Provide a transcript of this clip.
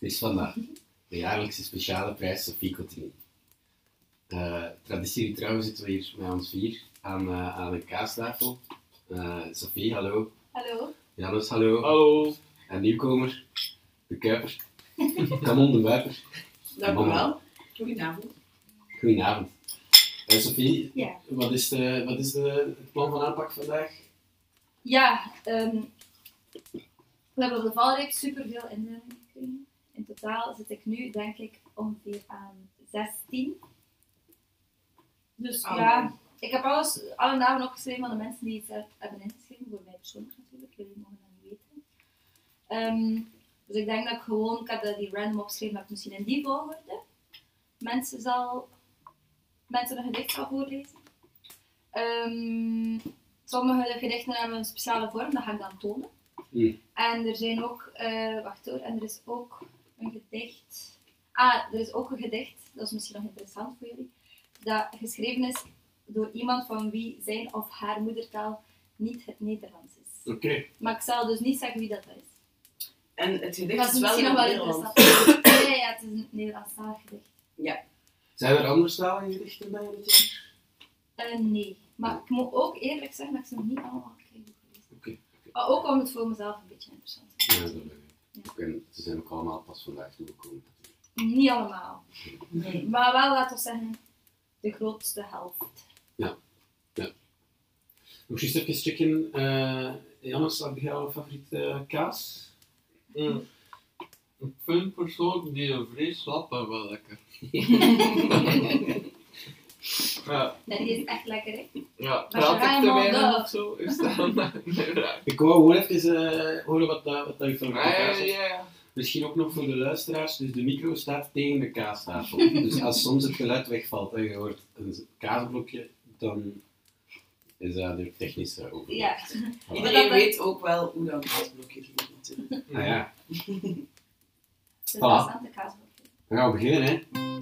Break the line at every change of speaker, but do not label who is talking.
is vandaag de jaarlijkse speciale prijs Sophie Cottini. Eh traditie trouw zitten we hier met ons vier aan, eh, aan een kaastafel. Eh Sophie, hallo.
Hallo.
Janus, hallo.
Hallo.
En nieuwkomer, de Kuiper. Kamon de Buiper.
Dank u
Mama.
wel. Goedenavond.
Goedenavond. Eh Sophie,
Ja.
wat is, de, wat is de, het plan van aanpak vandaag?
Ja, ehm, we hebben op de valreep superveel inzendingen gekregen. In totaal zit ik nu, denk ik, ongeveer aan 16. Dus
Alle
ja, ik heb alles, alle namen opgeschreven van de mensen die het zelf hebben ingeschreven. Voor mij persoonlijk natuurlijk, jullie mogen dat niet weten. Ehm, dus ik denk dat ik gewoon, ik heb dat die random opgeschreven, maar misschien in die volgorde. Mensen zal, mensen een gedicht zal voorlezen. Ehm, sommige gedichten hebben een speciale vorm, dat ga ik dan tonen.
Mm.
En er zijn ook, eh, wacht hoor, en er is ook een gedicht. Ah, er is ook een gedicht, dat is misschien nog interessant voor jullie, dat geschreven is door iemand van wie zijn of haar moedertaal niet het Nederlands is.
Oké.
Maar ik zal dus niet zeggen wie dat is.
En het gedicht
Dat is
is wel
misschien
in
nog
het
wel
Nederlands.
interessant. Ja, ja, ja, het is een Nederlandstalig gedicht.
Zijn er anderstalige gedichten bij jullie?
Eh, nee, maar ik moet ook eerlijk zeggen dat ik ze nog niet allemaal gekregen heb gelezen.
Oké, oké.
Maar ook om het voor mezelf een beetje interessant te
Ja, dat ben ik. Ik ben- Ze zijn ook allemaal pas vandaag toegekomen.
maken. Niet allemaal. Nee, maar wel, laten we zeggen, de grootste helft.
Nog eens even checken. eh Jannes, heb jij jouw favoriete eh, kaas?
Mm. Ik vind persoonlijk die een vlees lappen wel lekker. ja,
En die is echt lekker, hè?
ja.
Maar ze
praat ik
gaan
te
wel
weinig
door.
of zo? Is dat een vraag?
Ik wou gewoon even eh, horen wat, dat wat dat je favoriete
Ah, Ja,
kaas
ja,
is.
ja.
Misschien ook nog voor de luisteraars. Dus de micro staat tegen de kaastafel. dus als soms het geluid wegvalt en je hoort een kaasblokje, dan is dat door technische overlast.
Ja.
Voilà.
Maar
Iedereen
dat-
weet ook wel hoe dat kaasblokje ging natuurlijk.
Ah ja,
De
Voilà.
interessante kaasblokjes.
we gaan beginnen hè.